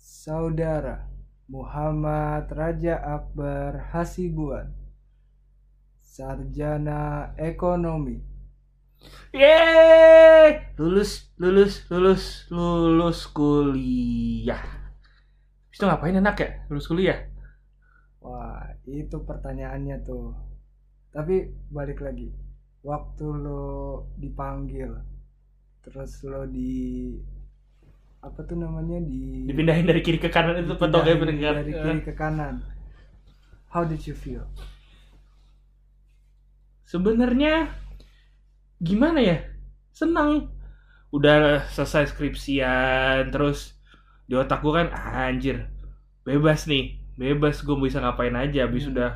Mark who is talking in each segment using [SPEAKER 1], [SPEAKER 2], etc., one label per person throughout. [SPEAKER 1] saudara Muhammad Raja Akbar Hasibuan, sarjana ekonomi.
[SPEAKER 2] Yeay! Lulus, lulus, lulus, lulus kuliah. Habis itu ngapain enak ya? Lulus kuliah?
[SPEAKER 1] Wah, itu pertanyaannya tuh. Tapi balik lagi, waktu lo dipanggil, terus lo di apa tuh namanya di
[SPEAKER 2] Dipindahin dari kiri ke kanan itu ya, petoknya
[SPEAKER 1] dari,
[SPEAKER 2] pendengar.
[SPEAKER 1] dari kiri ke kanan. How did you feel?
[SPEAKER 2] Sebenarnya gimana ya? Senang. Udah selesai skripsian, terus di otak gue kan "Ah, anjir bebas nih, bebas gue bisa ngapain aja. Habis
[SPEAKER 1] Hmm.
[SPEAKER 2] udah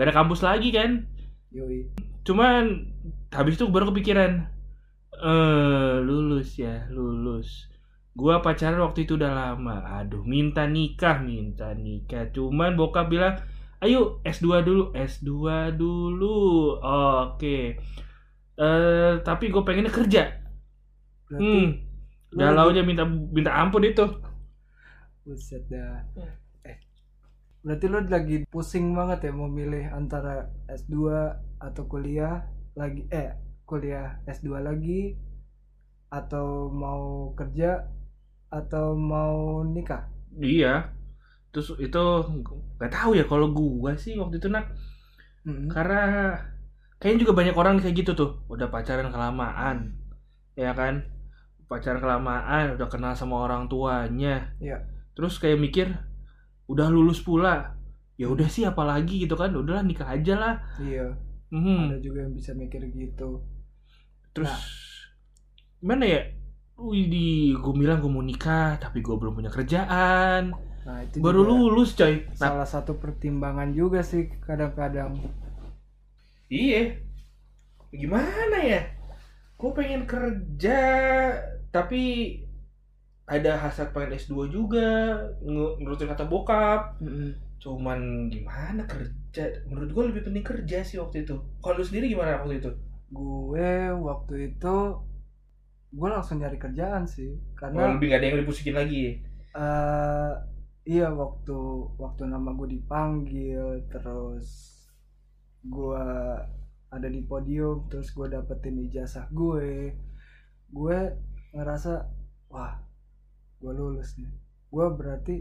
[SPEAKER 2] nggak ada kampus lagi kan?
[SPEAKER 1] Yoi.
[SPEAKER 2] cuman habis itu baru kepikiran eh lulus ya lulus gua pacaran waktu itu udah lama aduh minta nikah minta nikah cuman bokap bilang ayo S2 dulu S2 dulu oke eh tapi gue pengennya kerja
[SPEAKER 1] Berarti
[SPEAKER 2] hmm galaunya minta minta ampun itu
[SPEAKER 1] Buset dah.
[SPEAKER 2] Hmm.
[SPEAKER 1] Eh, berarti lo lagi pusing banget ya mau milih antara S2 atau kuliah lagi eh kuliah S2 lagi atau mau kerja atau mau nikah.
[SPEAKER 2] iya terus itu nggak tahu ya kalau gua sih waktu itu nak
[SPEAKER 1] Mm-mm.
[SPEAKER 2] Karena kayaknya juga banyak orang kayak gitu tuh, udah pacaran kelamaan, ya kan? Pacaran kelamaan, udah kenal sama orang tuanya.
[SPEAKER 1] Iya.
[SPEAKER 2] Terus kayak mikir, udah lulus pula,
[SPEAKER 1] Hmm.
[SPEAKER 2] ya udah sih apalagi gitu kan, udahlah nikah aja lah.
[SPEAKER 1] Iya, ada
[SPEAKER 2] Mhm.
[SPEAKER 1] juga yang bisa mikir gitu.
[SPEAKER 2] Terus gimana ya? Wih di, gue bilang gue mau nikah, tapi gue belum punya kerjaan.
[SPEAKER 1] Nah, itu
[SPEAKER 2] Baru
[SPEAKER 1] juga
[SPEAKER 2] lulus coy. Nah,
[SPEAKER 1] salah satu pertimbangan juga sih kadang-kadang.
[SPEAKER 2] Iya. Gimana ya? Gue pengen kerja, tapi ada hasrat pengen S2 juga, nge- nurutin kata bokap.
[SPEAKER 1] Mm-mm.
[SPEAKER 2] Cuman gimana kerja? Menurut gue lebih penting kerja sih waktu itu. Kalau lu sendiri gimana waktu itu?
[SPEAKER 1] Gue waktu itu gue langsung nyari kerjaan sih karena
[SPEAKER 2] Wah, lebih gak ada yang dipusikin lagi.
[SPEAKER 1] eh iya waktu waktu nama gue dipanggil terus gue ada di podium terus gue dapetin ijazah gue gue ngerasa wah gue lulus nih gue berarti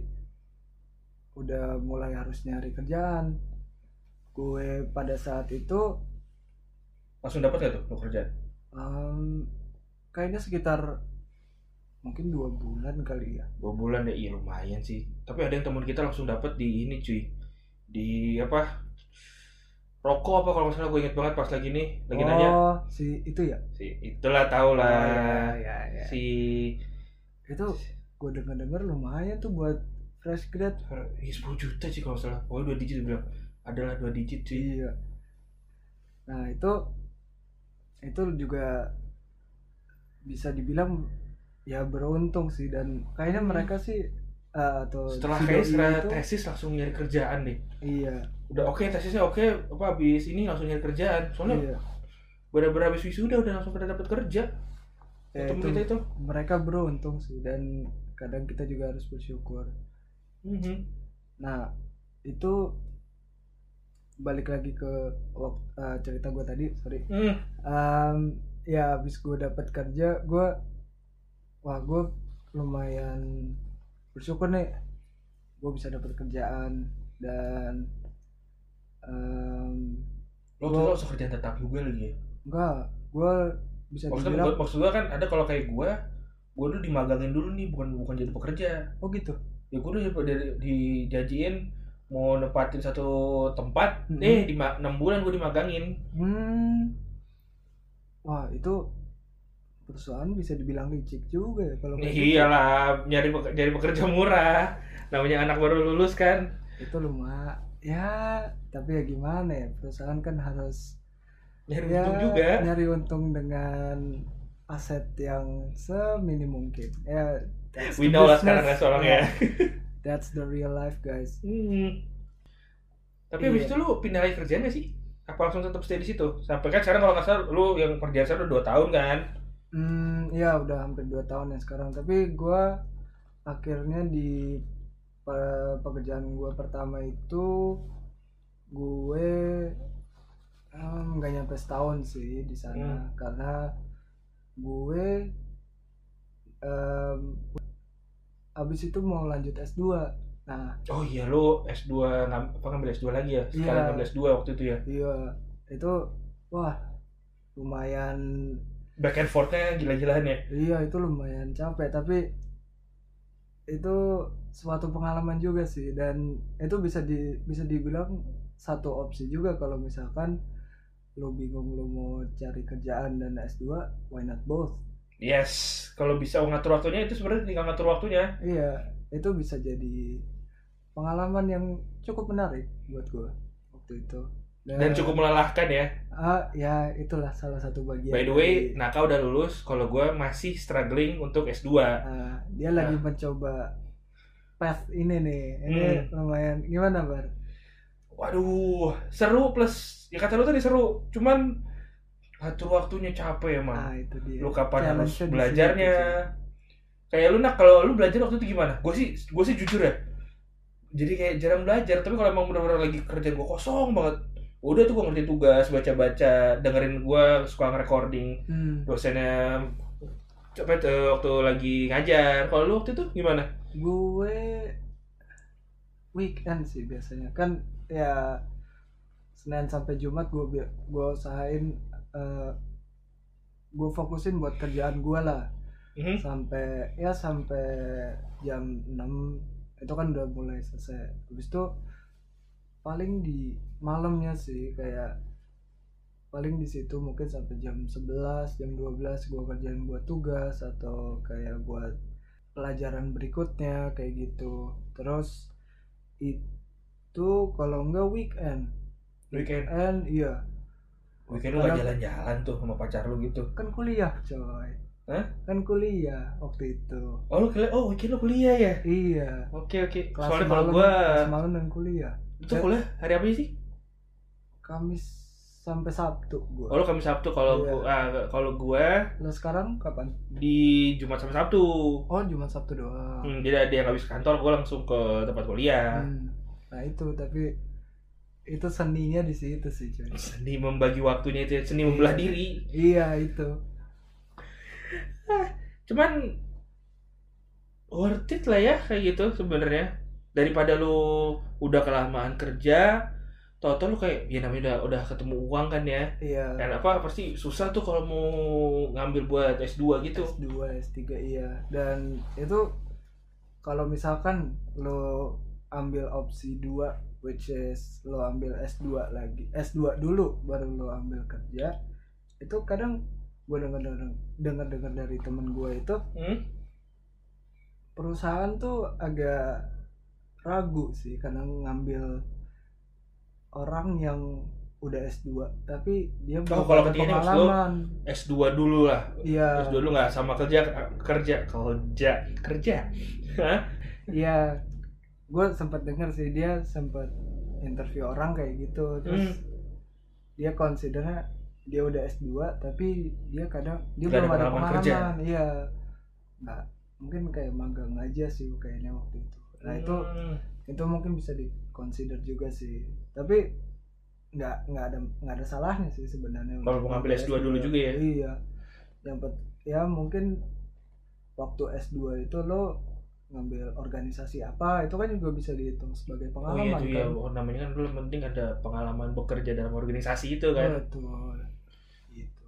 [SPEAKER 1] udah mulai harus nyari kerjaan gue pada saat itu
[SPEAKER 2] Langsung dapat gak tuh lu kerjaan?
[SPEAKER 1] em, kayaknya sekitar mungkin dua bulan kali ya
[SPEAKER 2] Dua bulan ya, iya lumayan sih. Tapi ada yang teman kita langsung dapat di ini cuy. Di apa? Rokok apa kalau misalnya gue inget banget pas lagi nih, lagi
[SPEAKER 1] oh
[SPEAKER 2] nanya.
[SPEAKER 1] si itu ya
[SPEAKER 2] Si, itulah tau lah. iya,
[SPEAKER 1] Oh, ya, ya, ya.
[SPEAKER 2] si
[SPEAKER 1] itu gue denger dengar lumayan tuh buat fresh grad
[SPEAKER 2] ya, 10 juta sih kalau nggak salah oh dua digit bilang adalah dua digit sih
[SPEAKER 1] iya nah itu itu juga bisa dibilang ya beruntung sih dan kayaknya mereka sih eh, atau
[SPEAKER 2] Hmm. setelah
[SPEAKER 1] si
[SPEAKER 2] kayak
[SPEAKER 1] doi
[SPEAKER 2] setelah
[SPEAKER 1] itu,
[SPEAKER 2] tesis langsung nyari kerjaan deh
[SPEAKER 1] iya
[SPEAKER 2] udah oke tesisnya oke apa habis ini langsung nyari kerjaan soalnya
[SPEAKER 1] iya
[SPEAKER 2] bener-bener habis wisuda udah langsung pada dapat kerja
[SPEAKER 1] Ya, itu,
[SPEAKER 2] temen kita itu
[SPEAKER 1] mereka beruntung sih dan kadang kita juga harus bersyukur
[SPEAKER 2] Mhm.
[SPEAKER 1] Nah, itu balik lagi ke wak- eh, cerita gue tadi, sorry.
[SPEAKER 2] Hmm.
[SPEAKER 1] Em, ya habis gue dapat kerja, gue wah gue lumayan bersyukur nih, gue bisa dapat kerjaan dan em,
[SPEAKER 2] lo tuh langsung kerjaan tetap juga lagi ya
[SPEAKER 1] enggak, gue bisa
[SPEAKER 2] maksudnya
[SPEAKER 1] dibilang
[SPEAKER 2] gua- maksud gua kan ada kalau kayak gua gua dulu dimagangin dulu nih bukan bukan jadi pekerja
[SPEAKER 1] oh gitu,
[SPEAKER 2] ya gue udah di- dijanjiin mau nempatin satu tempat
[SPEAKER 1] Mhm.
[SPEAKER 2] deh di 6 bulan gue dimagangin
[SPEAKER 1] hmm, wah itu perusahaan bisa dibilang licik juga ya kalau kayak gitu.
[SPEAKER 2] Eh, Iya, iyalah nyari pek- nyari pekerja murah namanya anak baru lulus kan
[SPEAKER 1] itu lumayan ya tapi ya gimana ya perusahaan kan harus
[SPEAKER 2] nyari
[SPEAKER 1] ya,
[SPEAKER 2] untung juga
[SPEAKER 1] nyari untung dengan aset yang seminim mungkin ya that's
[SPEAKER 2] we
[SPEAKER 1] the
[SPEAKER 2] know lah
[SPEAKER 1] business.
[SPEAKER 2] sekarang lah seorang ya
[SPEAKER 1] that's the real life guys
[SPEAKER 2] Hmm. tapi
[SPEAKER 1] Iya.
[SPEAKER 2] habis itu lu pindah lagi kerjaan gak sih apa langsung tetap stay di situ sampai kan sekarang kalau nggak salah lu yang kerjaan sekarang udah 2 tahun kan
[SPEAKER 1] hmm ya udah hampir dua tahun ya sekarang tapi gua akhirnya di pe- pekerjaan gue pertama itu gue em, nggak nyampe setahun sih di sana karena gue em, abis itu mau lanjut S2 nah
[SPEAKER 2] Oh iya lo S2 ngam- apa ngambil S2 lagi ya? Sekalian
[SPEAKER 1] Iya.
[SPEAKER 2] ngambil S2 waktu itu ya.
[SPEAKER 1] iya itu wah lumayan
[SPEAKER 2] Back and forth-nya gila-gilaan ya.
[SPEAKER 1] iya itu lumayan capek tapi itu suatu pengalaman juga sih dan itu bisa di bisa dibilang satu opsi juga kalau misalkan lu bingung lu mau cari kerjaan dan S2 why not both
[SPEAKER 2] Yes, kalau bisa ngatur waktunya itu sebenarnya tinggal ngatur waktunya.
[SPEAKER 1] iya itu bisa jadi pengalaman yang cukup menarik buat gua waktu itu
[SPEAKER 2] Dan cukup melelahkan ya.
[SPEAKER 1] ah ya itulah salah satu bagian
[SPEAKER 2] By the way,
[SPEAKER 1] dari-
[SPEAKER 2] Naka udah lulus, kalau gue masih struggling untuk S2.
[SPEAKER 1] Nah, dia lagi mencoba path ini nih. Ini
[SPEAKER 2] Hmm.
[SPEAKER 1] lumayan gimana, Bar?
[SPEAKER 2] Waduh, seru plus ya kata lu tadi seru, cuman atur waktunya capek emang.
[SPEAKER 1] Ah, itu dia.
[SPEAKER 2] Nah, Lu kapan harus
[SPEAKER 1] Challenge-nya di
[SPEAKER 2] belajarnya?
[SPEAKER 1] situ sih.
[SPEAKER 2] Kayak lu nak kalau lu belajar waktu itu gimana? Gue sih gue sih jujur ya. Jadi kayak jarang belajar, tapi kalau emang bener-bener lagi kerjaan gue kosong banget. Udah tuh gue ngerti tugas, baca-baca, dengerin gue suka nge-recording
[SPEAKER 1] Hmm.
[SPEAKER 2] dosennya cepet eh, waktu lagi ngajar. Kalau lu waktu itu gimana?
[SPEAKER 1] Gue weekend sih biasanya. Kan ya Senin sampai Jumat gue bi- gue usahain eh, gue fokusin buat kerjaan gue lah
[SPEAKER 2] Mhm.
[SPEAKER 1] sampai ya sampai jam 6 itu kan udah mulai selesai habis itu paling di malamnya sih kayak paling di situ mungkin sampai jam 11 jam 12 gua kerjain buat tugas atau kayak buat pelajaran berikutnya kayak gitu terus itu kalau enggak weekend
[SPEAKER 2] Weekend.
[SPEAKER 1] and iya
[SPEAKER 2] Weekend Oh, lu
[SPEAKER 1] Kalau-
[SPEAKER 2] gak jalan-jalan tuh sama pacar lu gitu.
[SPEAKER 1] kan kuliah coy
[SPEAKER 2] Hah?
[SPEAKER 1] kan kuliah waktu itu
[SPEAKER 2] Oh lu kuliah, oh weekend lu kuliah ya?
[SPEAKER 1] iya
[SPEAKER 2] Oke oke.
[SPEAKER 1] kelas
[SPEAKER 2] Soalnya kalau
[SPEAKER 1] malam, kan,
[SPEAKER 2] gua
[SPEAKER 1] kelas malam dan kuliah
[SPEAKER 2] itu kuliah hari apa sih?
[SPEAKER 1] Kamis sampai Sabtu
[SPEAKER 2] Oh
[SPEAKER 1] gua.
[SPEAKER 2] lu Kamis Sabtu kalau
[SPEAKER 1] Iya.
[SPEAKER 2] gua ah, kalau gua
[SPEAKER 1] Lo sekarang kapan?
[SPEAKER 2] di Jumat sampai Sabtu.
[SPEAKER 1] Oh cuma Sabtu doang.
[SPEAKER 2] Hmm, jadi ada yang habis kantor gua langsung ke tempat kuliah.
[SPEAKER 1] Hmm. Nah itu tapi itu seninya di situ sih cuy.
[SPEAKER 2] Seni membagi waktunya itu ya, seni membelah diri.
[SPEAKER 1] Iya itu.
[SPEAKER 2] Cuman worth it lah ya kayak gitu sebenarnya. Daripada lu udah kelamaan kerja, Toto lu kayak ya namanya udah, udah ketemu uang kan ya.
[SPEAKER 1] Iya.
[SPEAKER 2] Dan apa pasti susah tuh kalau mau ngambil buat S2 gitu.
[SPEAKER 1] S2, S3 iya. Dan itu kalau misalkan lo ambil opsi 2 which is lo ambil S2 lagi. S2 dulu baru lo ambil kerja. Itu kadang gue denger-denger denger-denger dari temen gue itu
[SPEAKER 2] Hmm?
[SPEAKER 1] perusahaan tuh agak ragu sih karena ngambil orang yang udah S2 tapi dia
[SPEAKER 2] Oh, kalau
[SPEAKER 1] ada
[SPEAKER 2] ketiganya harus S2 dulu lah.
[SPEAKER 1] Iya,
[SPEAKER 2] S2 dulu nggak sama kerja kerja kerja kerja.
[SPEAKER 1] iya. Gue sempat denger sih dia sempat interview orang kayak gitu
[SPEAKER 2] Hmm.
[SPEAKER 1] terus dia considernya dia udah S2 tapi dia kadang dia
[SPEAKER 2] Nggak ada
[SPEAKER 1] belum ada
[SPEAKER 2] pengalaman
[SPEAKER 1] pengalaman.
[SPEAKER 2] kerja. ya?
[SPEAKER 1] Iya. Nah, mungkin kayak magang aja sih kayaknya waktu itu. Nah, itu
[SPEAKER 2] Hmm.
[SPEAKER 1] itu mungkin bisa di consider juga sih tapi nggak nggak ada nggak ada salahnya sih sebenarnya
[SPEAKER 2] Kalau
[SPEAKER 1] untuk
[SPEAKER 2] mau ngambil S2 dulu juga ya?
[SPEAKER 1] iya yang pet- ya mungkin waktu S2 itu lo ngambil organisasi apa itu kan juga bisa dihitung sebagai
[SPEAKER 2] Oh iya
[SPEAKER 1] pengalaman
[SPEAKER 2] tuh ya,
[SPEAKER 1] kan
[SPEAKER 2] Oh, namanya kan dulu yang penting ada pengalaman bekerja dalam organisasi itu kan.
[SPEAKER 1] betul gitu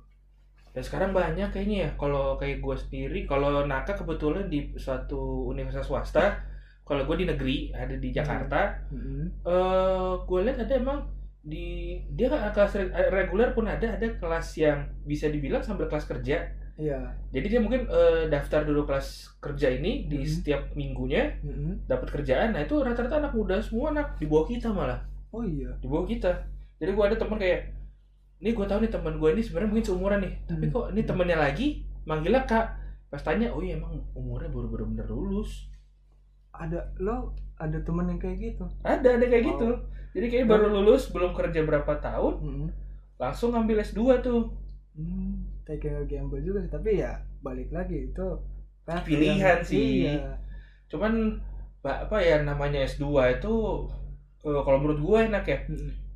[SPEAKER 2] Dan sekarang banyak kayaknya ya kalau kayak gue sendiri, kalau Naka kebetulan di suatu universitas swasta, kalau gue di negeri ada di Jakarta,
[SPEAKER 1] Mm-mm.
[SPEAKER 2] eh gue lihat ada emang di dia nggak- kelas re- reguler pun ada ada kelas yang bisa dibilang sambil kelas kerja
[SPEAKER 1] iya
[SPEAKER 2] jadi dia mungkin eh, daftar dulu kelas kerja ini di
[SPEAKER 1] Mhm.
[SPEAKER 2] setiap minggunya
[SPEAKER 1] Mm-mm.
[SPEAKER 2] dapat kerjaan nah itu rata-rata anak muda semua anak di bawah kita malah
[SPEAKER 1] oh iya
[SPEAKER 2] di bawah kita jadi gue ada teman kayak ini gue tahu nih teman gue ini sebenarnya mungkin seumuran nih tapi
[SPEAKER 1] Hmm.
[SPEAKER 2] kok ini temennya lagi manggilnya kak pas tanya oh iya emang umurnya baru-baru bener lulus
[SPEAKER 1] ada lo ada teman yang kayak gitu
[SPEAKER 2] ada ada kayak
[SPEAKER 1] Wow.
[SPEAKER 2] gitu jadi kayaknya
[SPEAKER 1] Hmm.
[SPEAKER 2] baru lulus belum kerja berapa tahun
[SPEAKER 1] Mm-mm.
[SPEAKER 2] langsung ngambil S2 tuh
[SPEAKER 1] Hmm, taking a gamble juga sih tapi ya balik lagi itu yang-
[SPEAKER 2] Pilihan sih.
[SPEAKER 1] iya.
[SPEAKER 2] cuman apa ya namanya S2 itu eh, kalau menurut gue enak ya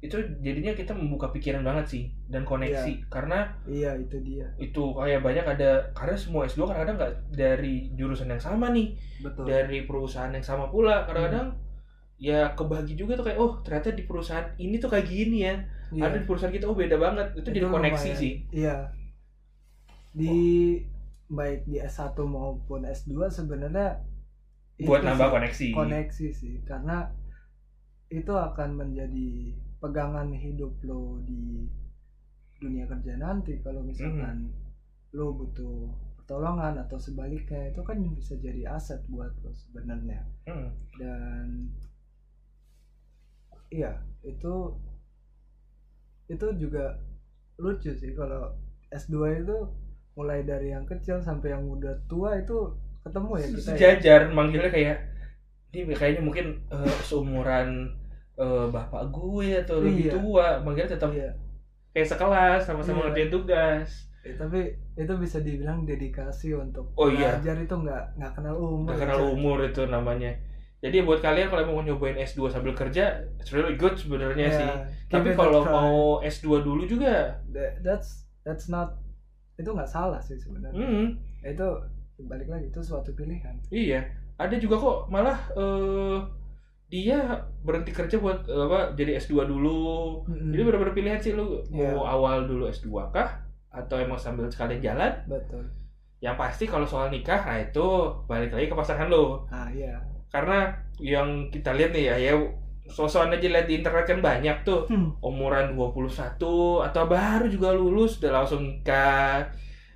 [SPEAKER 2] itu jadinya kita membuka pikiran banget sih dan koneksi karena
[SPEAKER 1] iya itu dia
[SPEAKER 2] itu kayak banyak ada karena semua S2 kadang-kadang nggak dari jurusan yang sama nih
[SPEAKER 1] betul
[SPEAKER 2] dari perusahaan yang sama pula kadang-kadang ya kebagi juga tuh kayak oh ternyata di perusahaan ini tuh kayak gini ya
[SPEAKER 1] Iya.
[SPEAKER 2] ada di perusahaan kita oh beda banget itu,
[SPEAKER 1] Itu
[SPEAKER 2] jadi koneksi
[SPEAKER 1] lumayan.
[SPEAKER 2] sih
[SPEAKER 1] Iya. Di baik di S1 maupun S2 sebenarnya
[SPEAKER 2] buat
[SPEAKER 1] itu
[SPEAKER 2] nambah
[SPEAKER 1] sih,
[SPEAKER 2] koneksi.
[SPEAKER 1] koneksi sih karena itu akan menjadi pegangan hidup lo di dunia kerja nanti kalau misalkan lo butuh pertolongan atau sebaliknya itu kan bisa jadi aset buat lo sebenarnya
[SPEAKER 2] Hmm.
[SPEAKER 1] dan iya itu itu juga lucu sih kalau S2 itu mulai dari yang kecil sampai yang udah tua itu ketemu ya kita ya
[SPEAKER 2] Sejajar manggilnya kayak ini kayaknya mungkin eh, seumuran eh, bapak gue atau lebih
[SPEAKER 1] Iya.
[SPEAKER 2] tua manggilnya tetap
[SPEAKER 1] Iya.
[SPEAKER 2] kayak sekelas
[SPEAKER 1] Iya.
[SPEAKER 2] sama-sama ngerjain tugas.
[SPEAKER 1] Eh, tapi itu bisa dibilang dedikasi untuk
[SPEAKER 2] Oh, iya.
[SPEAKER 1] belajar itu nggak nggak kenal umur ya.
[SPEAKER 2] Udah kenal umur itu namanya. Jadi ya buat kalian kalau mau nyobain S2 sambil kerja, it's really good sebenarnya
[SPEAKER 1] Ya,
[SPEAKER 2] sih.
[SPEAKER 1] give
[SPEAKER 2] Tapi
[SPEAKER 1] it a
[SPEAKER 2] kalau
[SPEAKER 1] try.
[SPEAKER 2] mau S2 dulu juga,
[SPEAKER 1] That- that's that's not itu nggak salah sih sebenarnya
[SPEAKER 2] hmm,
[SPEAKER 1] itu balik lagi itu suatu pilihan
[SPEAKER 2] iya. Ada juga kok malah eh, dia berhenti kerja buat eh, apa jadi S2 dulu,
[SPEAKER 1] Mm-mm.
[SPEAKER 2] Jadi benar-benar pilihan sih lu
[SPEAKER 1] Hmm. Iya.
[SPEAKER 2] mau awal dulu S2 kah atau emang sambil sekalian jalan?
[SPEAKER 1] betul
[SPEAKER 2] Yang pasti kalau soal nikah nah itu balik lagi ke pasangan lo.
[SPEAKER 1] ah iya
[SPEAKER 2] Karena yang kita lihat nih ya, ya sosokan aja lihat di internet kan banyak tuh
[SPEAKER 1] Hmm.
[SPEAKER 2] umuran 21 atau baru juga lulus udah langsung nikah.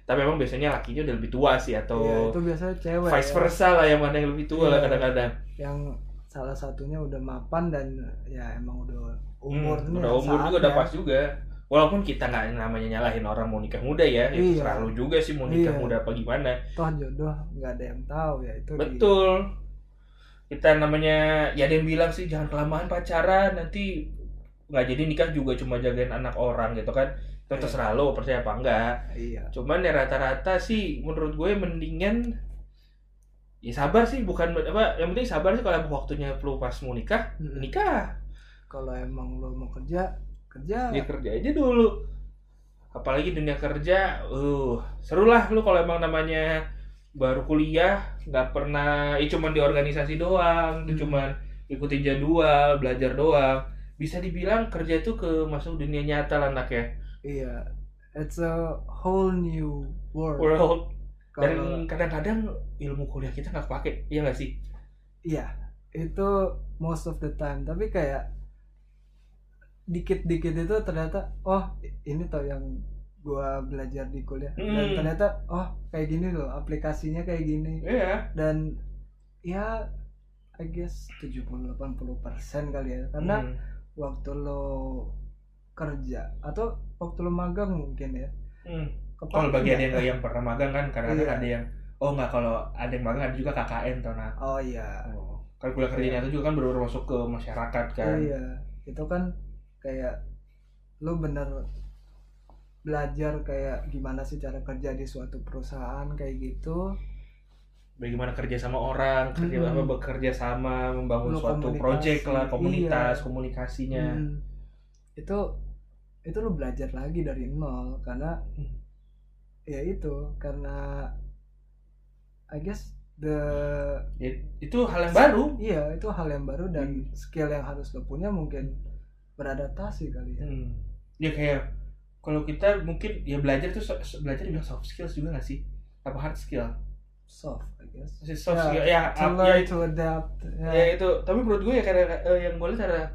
[SPEAKER 2] Tapi memang biasanya lakinya udah lebih tua sih
[SPEAKER 1] Iya,
[SPEAKER 2] atau
[SPEAKER 1] itu biasanya cewek
[SPEAKER 2] Gitu.
[SPEAKER 1] ya.
[SPEAKER 2] vice versa lah yang mana yang lebih tua lah
[SPEAKER 1] Iya.
[SPEAKER 2] kadang-kadang.
[SPEAKER 1] yang salah satunya udah mapan dan ya emang udah umur
[SPEAKER 2] Hmm,
[SPEAKER 1] nih
[SPEAKER 2] udah
[SPEAKER 1] yang
[SPEAKER 2] umur juga
[SPEAKER 1] saatnya.
[SPEAKER 2] udah pas juga walaupun kita nggak namanya nyalahin orang mau nikah muda ya, ya
[SPEAKER 1] Iya.
[SPEAKER 2] terserah lu juga sih mau nikah
[SPEAKER 1] Iya.
[SPEAKER 2] muda apa gimana
[SPEAKER 1] toh jodoh nggak ada yang tahu ya itu di-
[SPEAKER 2] betul kita namanya ya ada yang bilang sih jangan kelamaan pacaran nanti nggak jadi nikah juga cuma jagain anak orang gitu kan itu
[SPEAKER 1] Iya.
[SPEAKER 2] terserah lo percaya apa enggak
[SPEAKER 1] iya
[SPEAKER 2] cuman ya rata-rata sih menurut gue mendingan ya sabar sih bukan apa yang penting sabar sih kalau emang waktunya perlu pas mau nikah
[SPEAKER 1] Mm-mm.
[SPEAKER 2] nikah
[SPEAKER 1] kalau emang lo mau kerja kerja
[SPEAKER 2] ya kerja aja dulu apalagi dunia kerja uh seru lah lu kalau emang namanya baru kuliah nggak pernah ya cuman di organisasi doang
[SPEAKER 1] Hmm.
[SPEAKER 2] itu cuman ikutin jadwal belajar doang bisa dibilang kerja itu ke masuk dunia nyata lah anak ya
[SPEAKER 1] iya it's a whole new world
[SPEAKER 2] world
[SPEAKER 1] kalau
[SPEAKER 2] dan kadang-kadang ilmu kuliah kita nggak pakai iya nggak sih
[SPEAKER 1] iya itu most of the time tapi kayak dikit-dikit itu ternyata oh ini tuh yang gua belajar di kuliah dan
[SPEAKER 2] Hmm.
[SPEAKER 1] ternyata oh kayak gini loh aplikasinya kayak gini
[SPEAKER 2] iya
[SPEAKER 1] dan ya I guess 70-80% kali ya karena
[SPEAKER 2] Hmm.
[SPEAKER 1] waktu lo kerja atau waktu lo magang mungkin ya
[SPEAKER 2] Hmm.
[SPEAKER 1] kepake
[SPEAKER 2] kalau
[SPEAKER 1] nggak?
[SPEAKER 2] bagi ada yang nggak- yang pernah magang kan kadang-kadang
[SPEAKER 1] Iya.
[SPEAKER 2] ada yang oh nggak kalau ada yang magang ada juga KKN tuh nah
[SPEAKER 1] oh iya
[SPEAKER 2] kan kuliah kerja nyata juga kan baru masuk ke masyarakat kan
[SPEAKER 1] iya itu kan kayak lo bener belajar kayak gimana sih cara kerja di suatu perusahaan kayak gitu
[SPEAKER 2] bagaimana kerja sama orang kerja
[SPEAKER 1] Mm-mm.
[SPEAKER 2] apa bekerja sama membangun
[SPEAKER 1] Lu
[SPEAKER 2] suatu
[SPEAKER 1] komunikasi,
[SPEAKER 2] proyek lah komunitas
[SPEAKER 1] iya.
[SPEAKER 2] komunikasinya
[SPEAKER 1] Hmm. itu itu lu belajar lagi dari nol karena
[SPEAKER 2] Hmm.
[SPEAKER 1] ya itu karena I guess the
[SPEAKER 2] Ya, itu hal yang baru
[SPEAKER 1] iya itu hal yang baru
[SPEAKER 2] Hmm.
[SPEAKER 1] dan skill yang harus lo punya mungkin beradaptasi kali ya
[SPEAKER 2] hmm. ya kayak kalau kita mungkin ya belajar tuh so- so- belajar dibilang soft skills juga gak sih apa hard skill
[SPEAKER 1] soft I guess
[SPEAKER 2] Masih soft
[SPEAKER 1] Ya,
[SPEAKER 2] skill ya,
[SPEAKER 1] to
[SPEAKER 2] ap- ya,
[SPEAKER 1] learn to adapt ya.
[SPEAKER 2] ya itu tapi menurut gue ya karena eh, yang boleh karena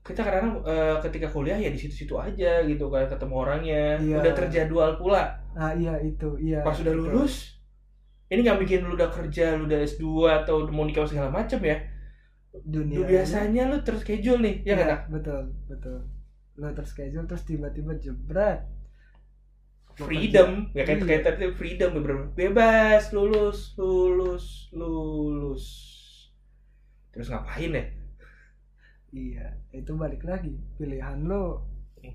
[SPEAKER 2] kita kadang eh, ketika kuliah ya di situ-situ aja gitu kan ketemu orangnya
[SPEAKER 1] Iya.
[SPEAKER 2] udah terjadwal pula
[SPEAKER 1] nah iya itu iya
[SPEAKER 2] pas udah
[SPEAKER 1] Betul.
[SPEAKER 2] lulus ini nggak bikin lu udah kerja lu udah S2 atau udah mau nikah segala macem ya
[SPEAKER 1] dunia
[SPEAKER 2] lu biasanya lu terus schedule nih ya
[SPEAKER 1] ya,
[SPEAKER 2] kan Nak?
[SPEAKER 1] betul betul lo terschedule terus tiba-tiba jebret Lu
[SPEAKER 2] freedom ya
[SPEAKER 1] Iya.
[SPEAKER 2] kayak kayak tadi freedom bener-bener bebas lulus lulus lulus terus ngapain ya
[SPEAKER 1] kerja. iya itu balik lagi pilihan lo Iya.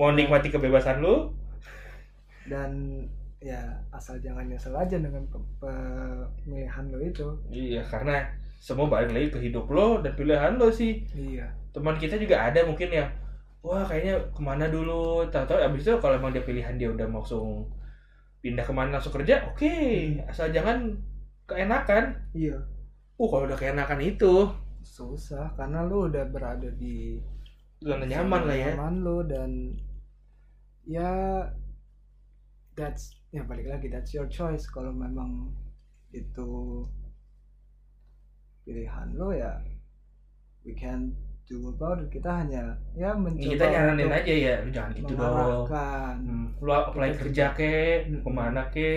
[SPEAKER 2] mau nikmati kebebasan lu
[SPEAKER 1] dan ya asal jangan nyesel aja dengan pe- pemilihan lo itu
[SPEAKER 2] iya karena semua balik lagi ke hidup lo dan pilihan lo sih
[SPEAKER 1] iya
[SPEAKER 2] teman kita juga ada mungkin yang wah kayaknya kemana dulu tahu-tahu abis itu kalau emang dia pilihan dia udah mau langsung pindah kemana langsung kerja oke asal jangan keenakan
[SPEAKER 1] iya
[SPEAKER 2] uh kalau udah keenakan itu
[SPEAKER 1] susah karena lu udah berada di
[SPEAKER 2] zona nyaman lah ya
[SPEAKER 1] nyaman lu dan ya that's ya balik lagi that's your choice kalau memang itu pilihan lo ya we can do about it kita hanya ya
[SPEAKER 2] Ini
[SPEAKER 1] mencoba
[SPEAKER 2] kita nyaranin
[SPEAKER 1] untuk
[SPEAKER 2] aja ya lu jangan gitu dong
[SPEAKER 1] mengarahkan
[SPEAKER 2] hmm. lu apply
[SPEAKER 1] Kita
[SPEAKER 2] kerja ke
[SPEAKER 1] Hmm.
[SPEAKER 2] kemana ke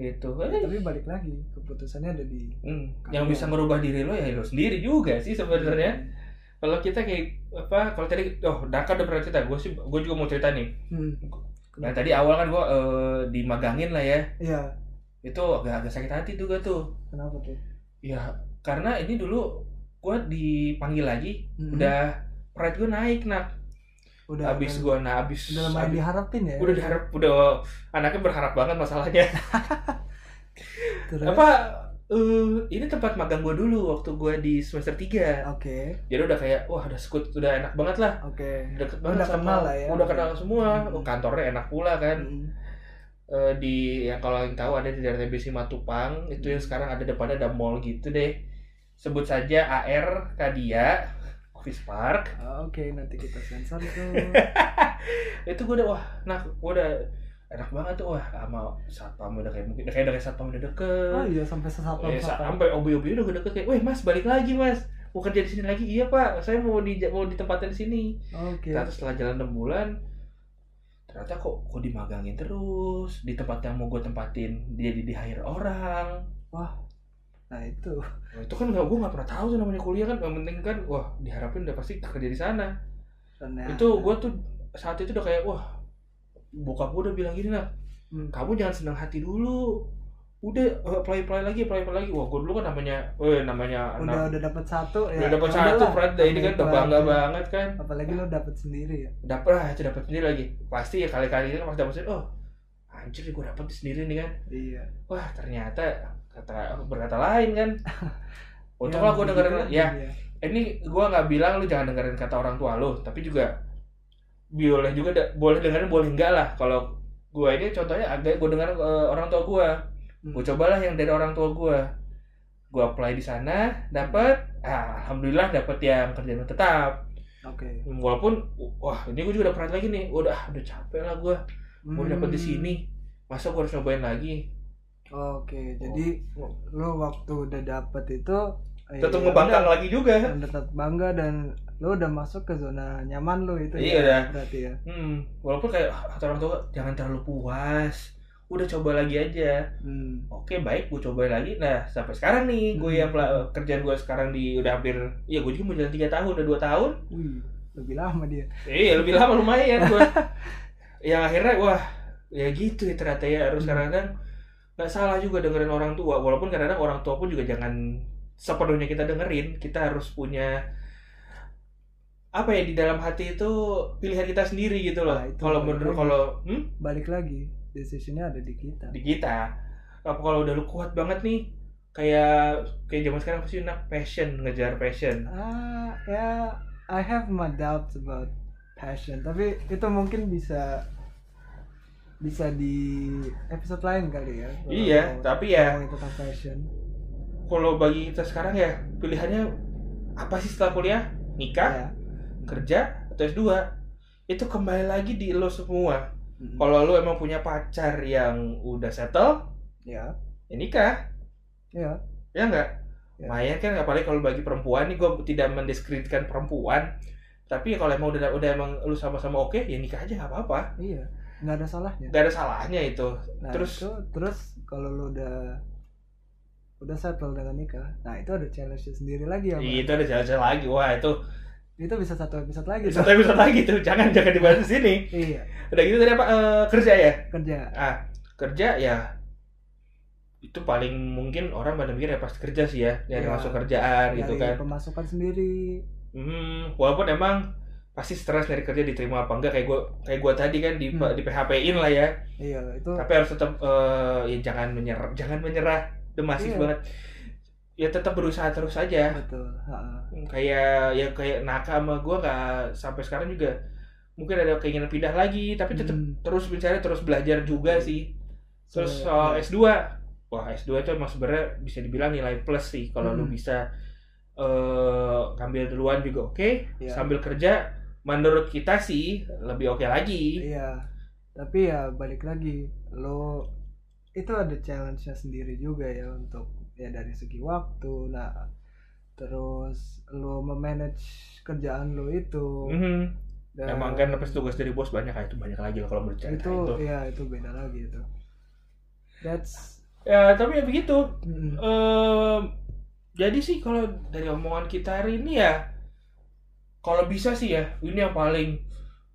[SPEAKER 2] gitu
[SPEAKER 1] Ya,
[SPEAKER 2] Eh,
[SPEAKER 1] tapi balik lagi keputusannya ada di
[SPEAKER 2] hmm.
[SPEAKER 1] Kamu.
[SPEAKER 2] yang bisa ngerubah diri lo ya lo sendiri juga sih sebenarnya kalau kita kayak apa kalau tadi oh Daka udah pernah cerita gue sih gue juga mau cerita nih
[SPEAKER 1] hmm.
[SPEAKER 2] Nah tadi awal kan gue dimagangin lah ya
[SPEAKER 1] ya
[SPEAKER 2] Itu agak-agak sakit hati tuh gue tuh
[SPEAKER 1] kenapa tuh
[SPEAKER 2] Ya karena ini dulu gue dipanggil lagi
[SPEAKER 1] Hmm.
[SPEAKER 2] Udah pride gue naik nak
[SPEAKER 1] udah
[SPEAKER 2] Abis gue nah abis
[SPEAKER 1] udah lumayan
[SPEAKER 2] abis-
[SPEAKER 1] diharapin ya
[SPEAKER 2] Udah diharap udah anaknya berharap banget masalahnya
[SPEAKER 1] Terus?
[SPEAKER 2] Apa eh, ini tempat magang gue dulu waktu gue di semester 3
[SPEAKER 1] oke
[SPEAKER 2] Jadi udah kayak wah udah sekut udah enak banget lah
[SPEAKER 1] oke
[SPEAKER 2] Deket banget
[SPEAKER 1] Udah
[SPEAKER 2] sama-
[SPEAKER 1] kenal lah ya.
[SPEAKER 2] Udah kenal semua
[SPEAKER 1] Hmm.
[SPEAKER 2] Oh, Kantornya enak pula kan
[SPEAKER 1] Mm.
[SPEAKER 2] eh, di yang kalau yang tahu ada di daerah TBC Matupang itu yang sekarang ada depannya ada mall gitu deh sebut saja AR Kadia Office Park
[SPEAKER 1] Ah, Oke, nanti kita sensor itu.
[SPEAKER 2] itu gue udah wah nah gue udah enak banget tuh wah sama satpam udah kayak mungkin kayak udah kayak satpam udah deket
[SPEAKER 1] oh iya, sampai sesapa
[SPEAKER 2] Eh, sa- sampai obi-obi udah deket kayak weh mas balik lagi mas mau kerja di sini lagi iya pak saya mau di mau ditempatin di sini
[SPEAKER 1] Oke.
[SPEAKER 2] ternyata setelah jalan 6 bulan ternyata kok kok dimagangin terus di tempat yang mau gue tempatin dia di, di hire orang
[SPEAKER 1] Nah itu.
[SPEAKER 2] Nah, itu kan nggak gue nggak pernah tahu tuh namanya kuliah kan yang penting kan wah diharapin udah pasti kerja di sana
[SPEAKER 1] Ternyata.
[SPEAKER 2] itu gue tuh saat itu udah kayak wah bokap gue udah bilang gini lah
[SPEAKER 1] Hmm.
[SPEAKER 2] kamu jangan senang hati dulu udah apply apply lagi apply apply lagi wah gue dulu kan namanya eh namanya
[SPEAKER 1] udah
[SPEAKER 2] anak-
[SPEAKER 1] udah dapat satu ya.
[SPEAKER 2] udah dapat
[SPEAKER 1] ya
[SPEAKER 2] satu
[SPEAKER 1] udahlah,
[SPEAKER 2] Fred ini kan udah
[SPEAKER 1] ambil
[SPEAKER 2] bangga
[SPEAKER 1] aja.
[SPEAKER 2] banget kan
[SPEAKER 1] Apalagi lo dapat sendiri ya.
[SPEAKER 2] dapat lah itu dapat sendiri lagi pasti ya kali kali ini kan pasti dapat sendiri oh anjir gue dapat sendiri nih kan
[SPEAKER 1] Iya.
[SPEAKER 2] wah ternyata kata berkata lain kan
[SPEAKER 1] Ya,
[SPEAKER 2] untunglah gue dengerin
[SPEAKER 1] begitu
[SPEAKER 2] ya
[SPEAKER 1] iya.
[SPEAKER 2] ini gua nggak bilang lu jangan dengerin kata orang tua lu tapi juga boleh juga da- boleh dengerin boleh enggak lah kalau gua ini contohnya agak gua dengar eh, orang tua gua
[SPEAKER 1] Hmm.
[SPEAKER 2] gua cobalah yang dari orang tua gua gua apply di sana dapat ah, alhamdulillah dapat yang kerjaan tetap
[SPEAKER 1] Oke.
[SPEAKER 2] walaupun wah ini gua juga udah pernah lagi nih udah udah capek lah gua gua
[SPEAKER 1] Hmm.
[SPEAKER 2] dapat di sini Oh. masa gua harus nyobain lagi
[SPEAKER 1] Oke, jadi lo waktu udah dapat itu eh,
[SPEAKER 2] tetap
[SPEAKER 1] ya
[SPEAKER 2] ngebangkang
[SPEAKER 1] udah.
[SPEAKER 2] lagi juga
[SPEAKER 1] Dan tetap bangga dan lo udah masuk ke zona nyaman lo itu ya,
[SPEAKER 2] Iya, dah.
[SPEAKER 1] berarti ya.
[SPEAKER 2] Hmm, walaupun kayak ah, kata orang tua jangan terlalu puas. Udah coba lagi aja.
[SPEAKER 1] Hmm.
[SPEAKER 2] Oke, baik gue coba lagi. Nah, sampai sekarang nih gue
[SPEAKER 1] Hmm.
[SPEAKER 2] yang pela- kerjaan gue sekarang di udah hampir ya gue juga mau jalan 3 tahun, udah 2 tahun.
[SPEAKER 1] Wih, lebih lama dia.
[SPEAKER 2] Eh, ya lebih lama lumayan gue. ya akhirnya wah, ya gitu ya ternyata ya harus
[SPEAKER 1] Hmm.
[SPEAKER 2] kadang-kadang nggak salah juga dengerin orang tua. Walaupun kadang-kadang orang tua pun juga jangan sepenuhnya kita dengerin, kita harus punya apa ya di dalam hati itu pilihan kita sendiri gitu loh.
[SPEAKER 1] Nah, itu
[SPEAKER 2] kalau
[SPEAKER 1] balik
[SPEAKER 2] menurut
[SPEAKER 1] lagi.
[SPEAKER 2] kalau hmm?
[SPEAKER 1] Balik lagi, decisionnya ada di kita.
[SPEAKER 2] di kita apa kalau udah lu kuat banget nih kayak kayak zaman sekarang pasti nak passion ngejar passion
[SPEAKER 1] Ah, ya, I have my doubts about passion. Tapi itu mungkin bisa bisa di episode lain kali ya. kalau
[SPEAKER 2] iya
[SPEAKER 1] mau-
[SPEAKER 2] tapi ya
[SPEAKER 1] ngomongin tentang passion.
[SPEAKER 2] kalau bagi kita sekarang ya pilihannya apa sih setelah kuliah nikah
[SPEAKER 1] Ya.
[SPEAKER 2] kerja atau S2 itu kembali lagi di lo semua
[SPEAKER 1] Mm-mm.
[SPEAKER 2] kalau lu emang punya pacar yang udah settle
[SPEAKER 1] ya,
[SPEAKER 2] ya nikah
[SPEAKER 1] ya,
[SPEAKER 2] ya enggak
[SPEAKER 1] Ya.
[SPEAKER 2] lumayan kan apalagi kalau bagi perempuan nih gue tidak mendiskreditkan perempuan tapi kalau emang udah udah emang lu sama-sama oke ya nikah aja nggak apa-apa
[SPEAKER 1] iya. Nggak ada salahnya.
[SPEAKER 2] nggak ada salahnya itu
[SPEAKER 1] Nah,
[SPEAKER 2] terus-
[SPEAKER 1] itu, terus kalau lu udah udah settle dengan nikah, nah itu ada challenge sendiri lagi ya. Bang.
[SPEAKER 2] Iya, itu ada jalan-jalan lagi wah itu
[SPEAKER 1] Itu bisa satu episode lagi.
[SPEAKER 2] satu episode lagi tuh jangan jangan dibahas di sini
[SPEAKER 1] Bang. Iya,
[SPEAKER 2] udah gitu tadi apa eh, kerja ya
[SPEAKER 1] kerja.
[SPEAKER 2] ah kerja ya itu paling mungkin orang pada mikir ya pas kerja sih ya dari
[SPEAKER 1] Iya.
[SPEAKER 2] masuk kerjaan gitu
[SPEAKER 1] Dari
[SPEAKER 2] kan
[SPEAKER 1] pemasukan sendiri.
[SPEAKER 2] hmm, walaupun emang pasti stres dari kerja diterima apa enggak kayak gua kayak gua tadi kan di
[SPEAKER 1] Hmm.
[SPEAKER 2] di PHP-in lah ya
[SPEAKER 1] Iya, itu
[SPEAKER 2] tapi harus tetap eh, ya jangan menyerah jangan menyerah itu
[SPEAKER 1] Iya.
[SPEAKER 2] masif banget ya tetap berusaha terus aja
[SPEAKER 1] betul ha-ha.
[SPEAKER 2] kayak ya kayak Naka sama gue nggak sampai sekarang juga mungkin ada keinginan pindah lagi tapi tetap
[SPEAKER 1] Hmm. Iya.
[SPEAKER 2] terus mencari terus belajar juga sih terus eh,
[SPEAKER 1] So,
[SPEAKER 2] soal
[SPEAKER 1] ya.
[SPEAKER 2] S2 wah S2 itu emang sebenarnya bisa dibilang nilai plus sih kalau lu
[SPEAKER 1] Hmm.
[SPEAKER 2] bisa eh ngambil duluan juga oke
[SPEAKER 1] Iya.
[SPEAKER 2] sambil kerja menurut kita sih lebih oke lagi
[SPEAKER 1] Iya. Tapi ya balik lagi, lo itu ada challenge-nya sendiri juga ya untuk ya dari segi waktu. Nah, terus lo memanage kerjaan lo itu.
[SPEAKER 2] Mhm.
[SPEAKER 1] Dan
[SPEAKER 2] emang kan lepas tugas dari bos banyak ah, itu banyak lagi lah kalau menurut cerita
[SPEAKER 1] itu,
[SPEAKER 2] itu.
[SPEAKER 1] ya itu beda lagi itu. That's
[SPEAKER 2] ya tapi ya begitu
[SPEAKER 1] mm,
[SPEAKER 2] Ehm, jadi sih kalau dari omongan kita hari ini ya kalau bisa sih ya ini yang paling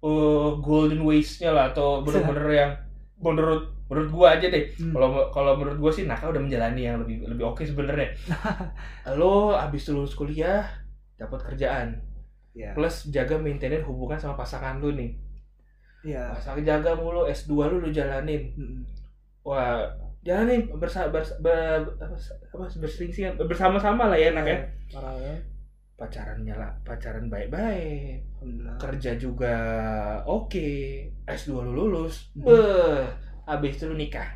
[SPEAKER 2] eh, golden waste-nya lah atau bener-bener yang menurut menurut gua aja deh
[SPEAKER 1] mm.
[SPEAKER 2] kalau kalau menurut gua sih Naka udah menjalani yang lebih lebih oke sebenarnya lo abis lulus kuliah dapat kerjaan
[SPEAKER 1] ya.
[SPEAKER 2] plus jaga maintain hubungan sama pasangan lu nih
[SPEAKER 1] Iya.
[SPEAKER 2] pasangan jaga mulu S2 lu lu jalanin
[SPEAKER 1] Mm,
[SPEAKER 2] wah jalanin bersa bersa ber- apa, apa, berseringsingan bersama-sama lah ya Nak ya
[SPEAKER 1] Iya, parah ya.
[SPEAKER 2] pacaran nyala pacaran baik-baik
[SPEAKER 1] Alhamdulillah.
[SPEAKER 2] kerja juga oke S2 lu lulus
[SPEAKER 1] Hmm.
[SPEAKER 2] beh habis itu lu nikah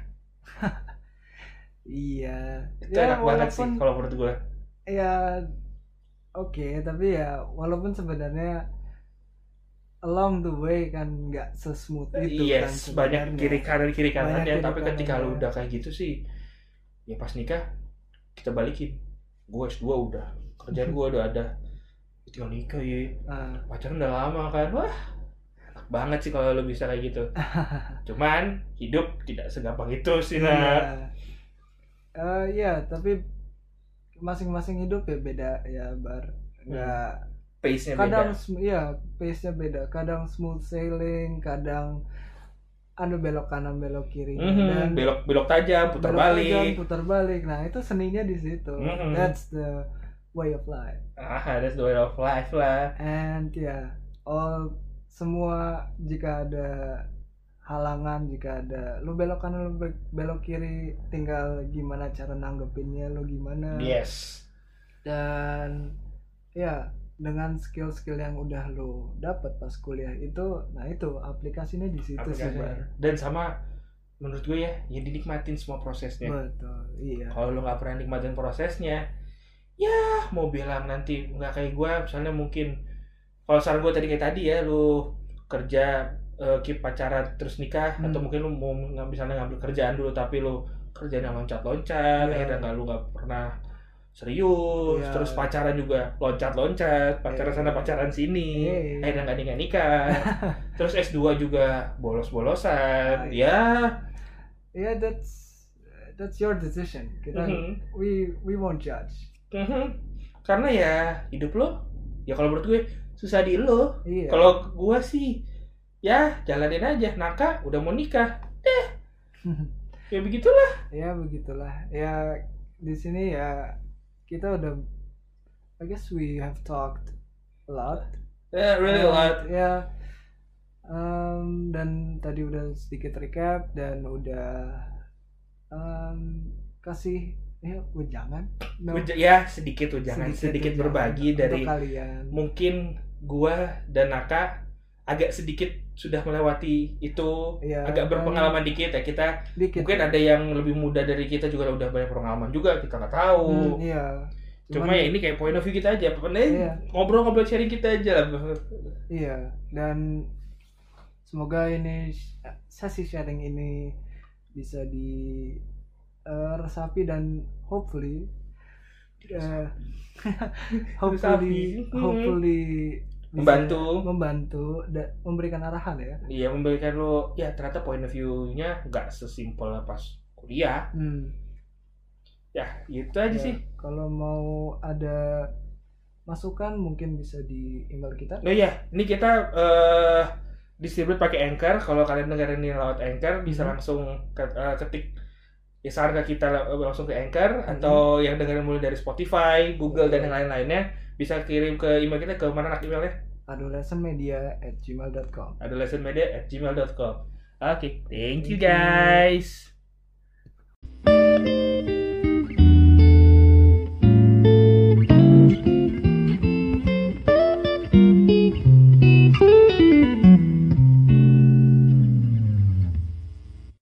[SPEAKER 1] Iya.
[SPEAKER 2] itu enak banget sih kalau menurut gua
[SPEAKER 1] ya oke tapi ya walaupun sebenarnya along the way kan nggak sesmooth itu kan
[SPEAKER 2] Eh, yes Iya, banyak
[SPEAKER 1] sebenarnya.
[SPEAKER 2] kiri kanan kiri kanan
[SPEAKER 1] Banyak
[SPEAKER 2] ya
[SPEAKER 1] kiri
[SPEAKER 2] tapi ketika lu
[SPEAKER 1] kanannya.
[SPEAKER 2] udah kayak gitu sih ya pas nikah kita balikin gue S2 udah kerjaan gua udah ada tinggal nikah ya
[SPEAKER 1] Ah,
[SPEAKER 2] pacaran udah lama kan wah enak banget sih kalau lo bisa kayak gitu cuman hidup tidak segampang itu sih
[SPEAKER 1] iya.
[SPEAKER 2] nak
[SPEAKER 1] Eh, ya tapi masing-masing hidup ya beda ya bar nggak
[SPEAKER 2] pace nya Hmm, ya beda
[SPEAKER 1] kadang sm- iya pace nya beda kadang smooth sailing kadang anu belok kanan belok kiri
[SPEAKER 2] Mhm,
[SPEAKER 1] dan
[SPEAKER 2] belok belok tajam putar
[SPEAKER 1] belok tajam,
[SPEAKER 2] balik
[SPEAKER 1] putar balik nah itu seninya di situ
[SPEAKER 2] Mhm.
[SPEAKER 1] that's the way of life
[SPEAKER 2] ah that's the way of life lah
[SPEAKER 1] And ya, all semua jika ada halangan, jika ada lu belok kanan, lu be- belok kiri, tinggal gimana cara nanggepinnya, lu gimana.
[SPEAKER 2] yes
[SPEAKER 1] Dan ya, dengan skill-skill yang udah lu dapat pas kuliah itu, nah itu aplikasinya di situ sih,
[SPEAKER 2] Aplikasi.
[SPEAKER 1] Bar.
[SPEAKER 2] dan sama menurut gue ya ya dinikmatin semua prosesnya
[SPEAKER 1] Betul, iya.
[SPEAKER 2] kalau lo nggak pernah nikmatin prosesnya ya mau bilang nanti nggak kayak gue misalnya mungkin kalau saran gue tadi kayak tadi ya lo kerja eh, keep pacaran terus nikah
[SPEAKER 1] Hmm.
[SPEAKER 2] atau mungkin lo mau ng- misalnya ngambil kerjaan dulu tapi lo kerjaan yang loncat-loncat
[SPEAKER 1] Iya.
[SPEAKER 2] akhirnya nggak lo nggak pernah serius
[SPEAKER 1] Iya.
[SPEAKER 2] terus pacaran juga loncat-loncat pacaran
[SPEAKER 1] Iya.
[SPEAKER 2] sana pacaran sini
[SPEAKER 1] Iya.
[SPEAKER 2] akhirnya nggak nikah nikah terus S 2 juga bolos-bolosan
[SPEAKER 1] Ah,
[SPEAKER 2] ya
[SPEAKER 1] Ya, that's that's your decision. Kita
[SPEAKER 2] mhm.
[SPEAKER 1] we we won't judge.
[SPEAKER 2] Mhm. Karena ya hidup lo, ya kalau menurut gue susah di lo.
[SPEAKER 1] Iya.
[SPEAKER 2] Kalau gue sih, ya jalanin aja. Naka udah mau nikah, ya begitulah.
[SPEAKER 1] ya begitulah ya di sini ya kita udah I guess we have talked a lot
[SPEAKER 2] Yeah, really a
[SPEAKER 1] And,
[SPEAKER 2] lot.
[SPEAKER 1] ya um, dan tadi udah sedikit recap dan udah um, kasih ya jangan no,
[SPEAKER 2] Uj- Ya sedikit tuh jangan sedikit,
[SPEAKER 1] wejangan
[SPEAKER 2] berbagi
[SPEAKER 1] untuk
[SPEAKER 2] dari
[SPEAKER 1] kalian
[SPEAKER 2] mungkin gue dan Naka agak sedikit sudah melewati itu
[SPEAKER 1] ya,
[SPEAKER 2] agak
[SPEAKER 1] dan
[SPEAKER 2] berpengalaman dikit ya kita
[SPEAKER 1] dikit
[SPEAKER 2] mungkin ada yang lebih muda dari kita juga udah banyak pengalaman juga kita nggak tahu
[SPEAKER 1] Hmm, iya
[SPEAKER 2] cuma ya ini kayak point of view kita aja
[SPEAKER 1] Iya.
[SPEAKER 2] penting ngobrol-ngobrol sharing kita aja lah
[SPEAKER 1] Iya, dan semoga ini sesi sharing ini bisa di eh, resapi dan hopefully eh, hopefully
[SPEAKER 2] Diresapi.
[SPEAKER 1] hopefully bisa
[SPEAKER 2] membantu
[SPEAKER 1] membantu dan memberikan arahan ya.
[SPEAKER 2] iya memberikan lo ya ternyata point of view-nya nggak sesimpel pas kuliah
[SPEAKER 1] Hmm,
[SPEAKER 2] ya itu aja
[SPEAKER 1] ya.
[SPEAKER 2] sih
[SPEAKER 1] Kalau mau ada masukan mungkin bisa di email kita.
[SPEAKER 2] oh iya ini kita eh distribute pakai anchor kalau kalian dengerin ini lewat anchor bisa
[SPEAKER 1] Mhm.
[SPEAKER 2] langsung ke- eh, ketik ya saran ke kita la- langsung ke
[SPEAKER 1] Mhm.
[SPEAKER 2] anchor
[SPEAKER 1] Iya.
[SPEAKER 2] atau yang dengerin mulai dari Spotify, Google dan yang lain-lainnya bisa kirim ke email kita ke mana nak emailnya
[SPEAKER 1] adolescentmedia@gmail.com.
[SPEAKER 2] adolescentmedia@gmail.com oke thank
[SPEAKER 1] Thank you.
[SPEAKER 2] you guys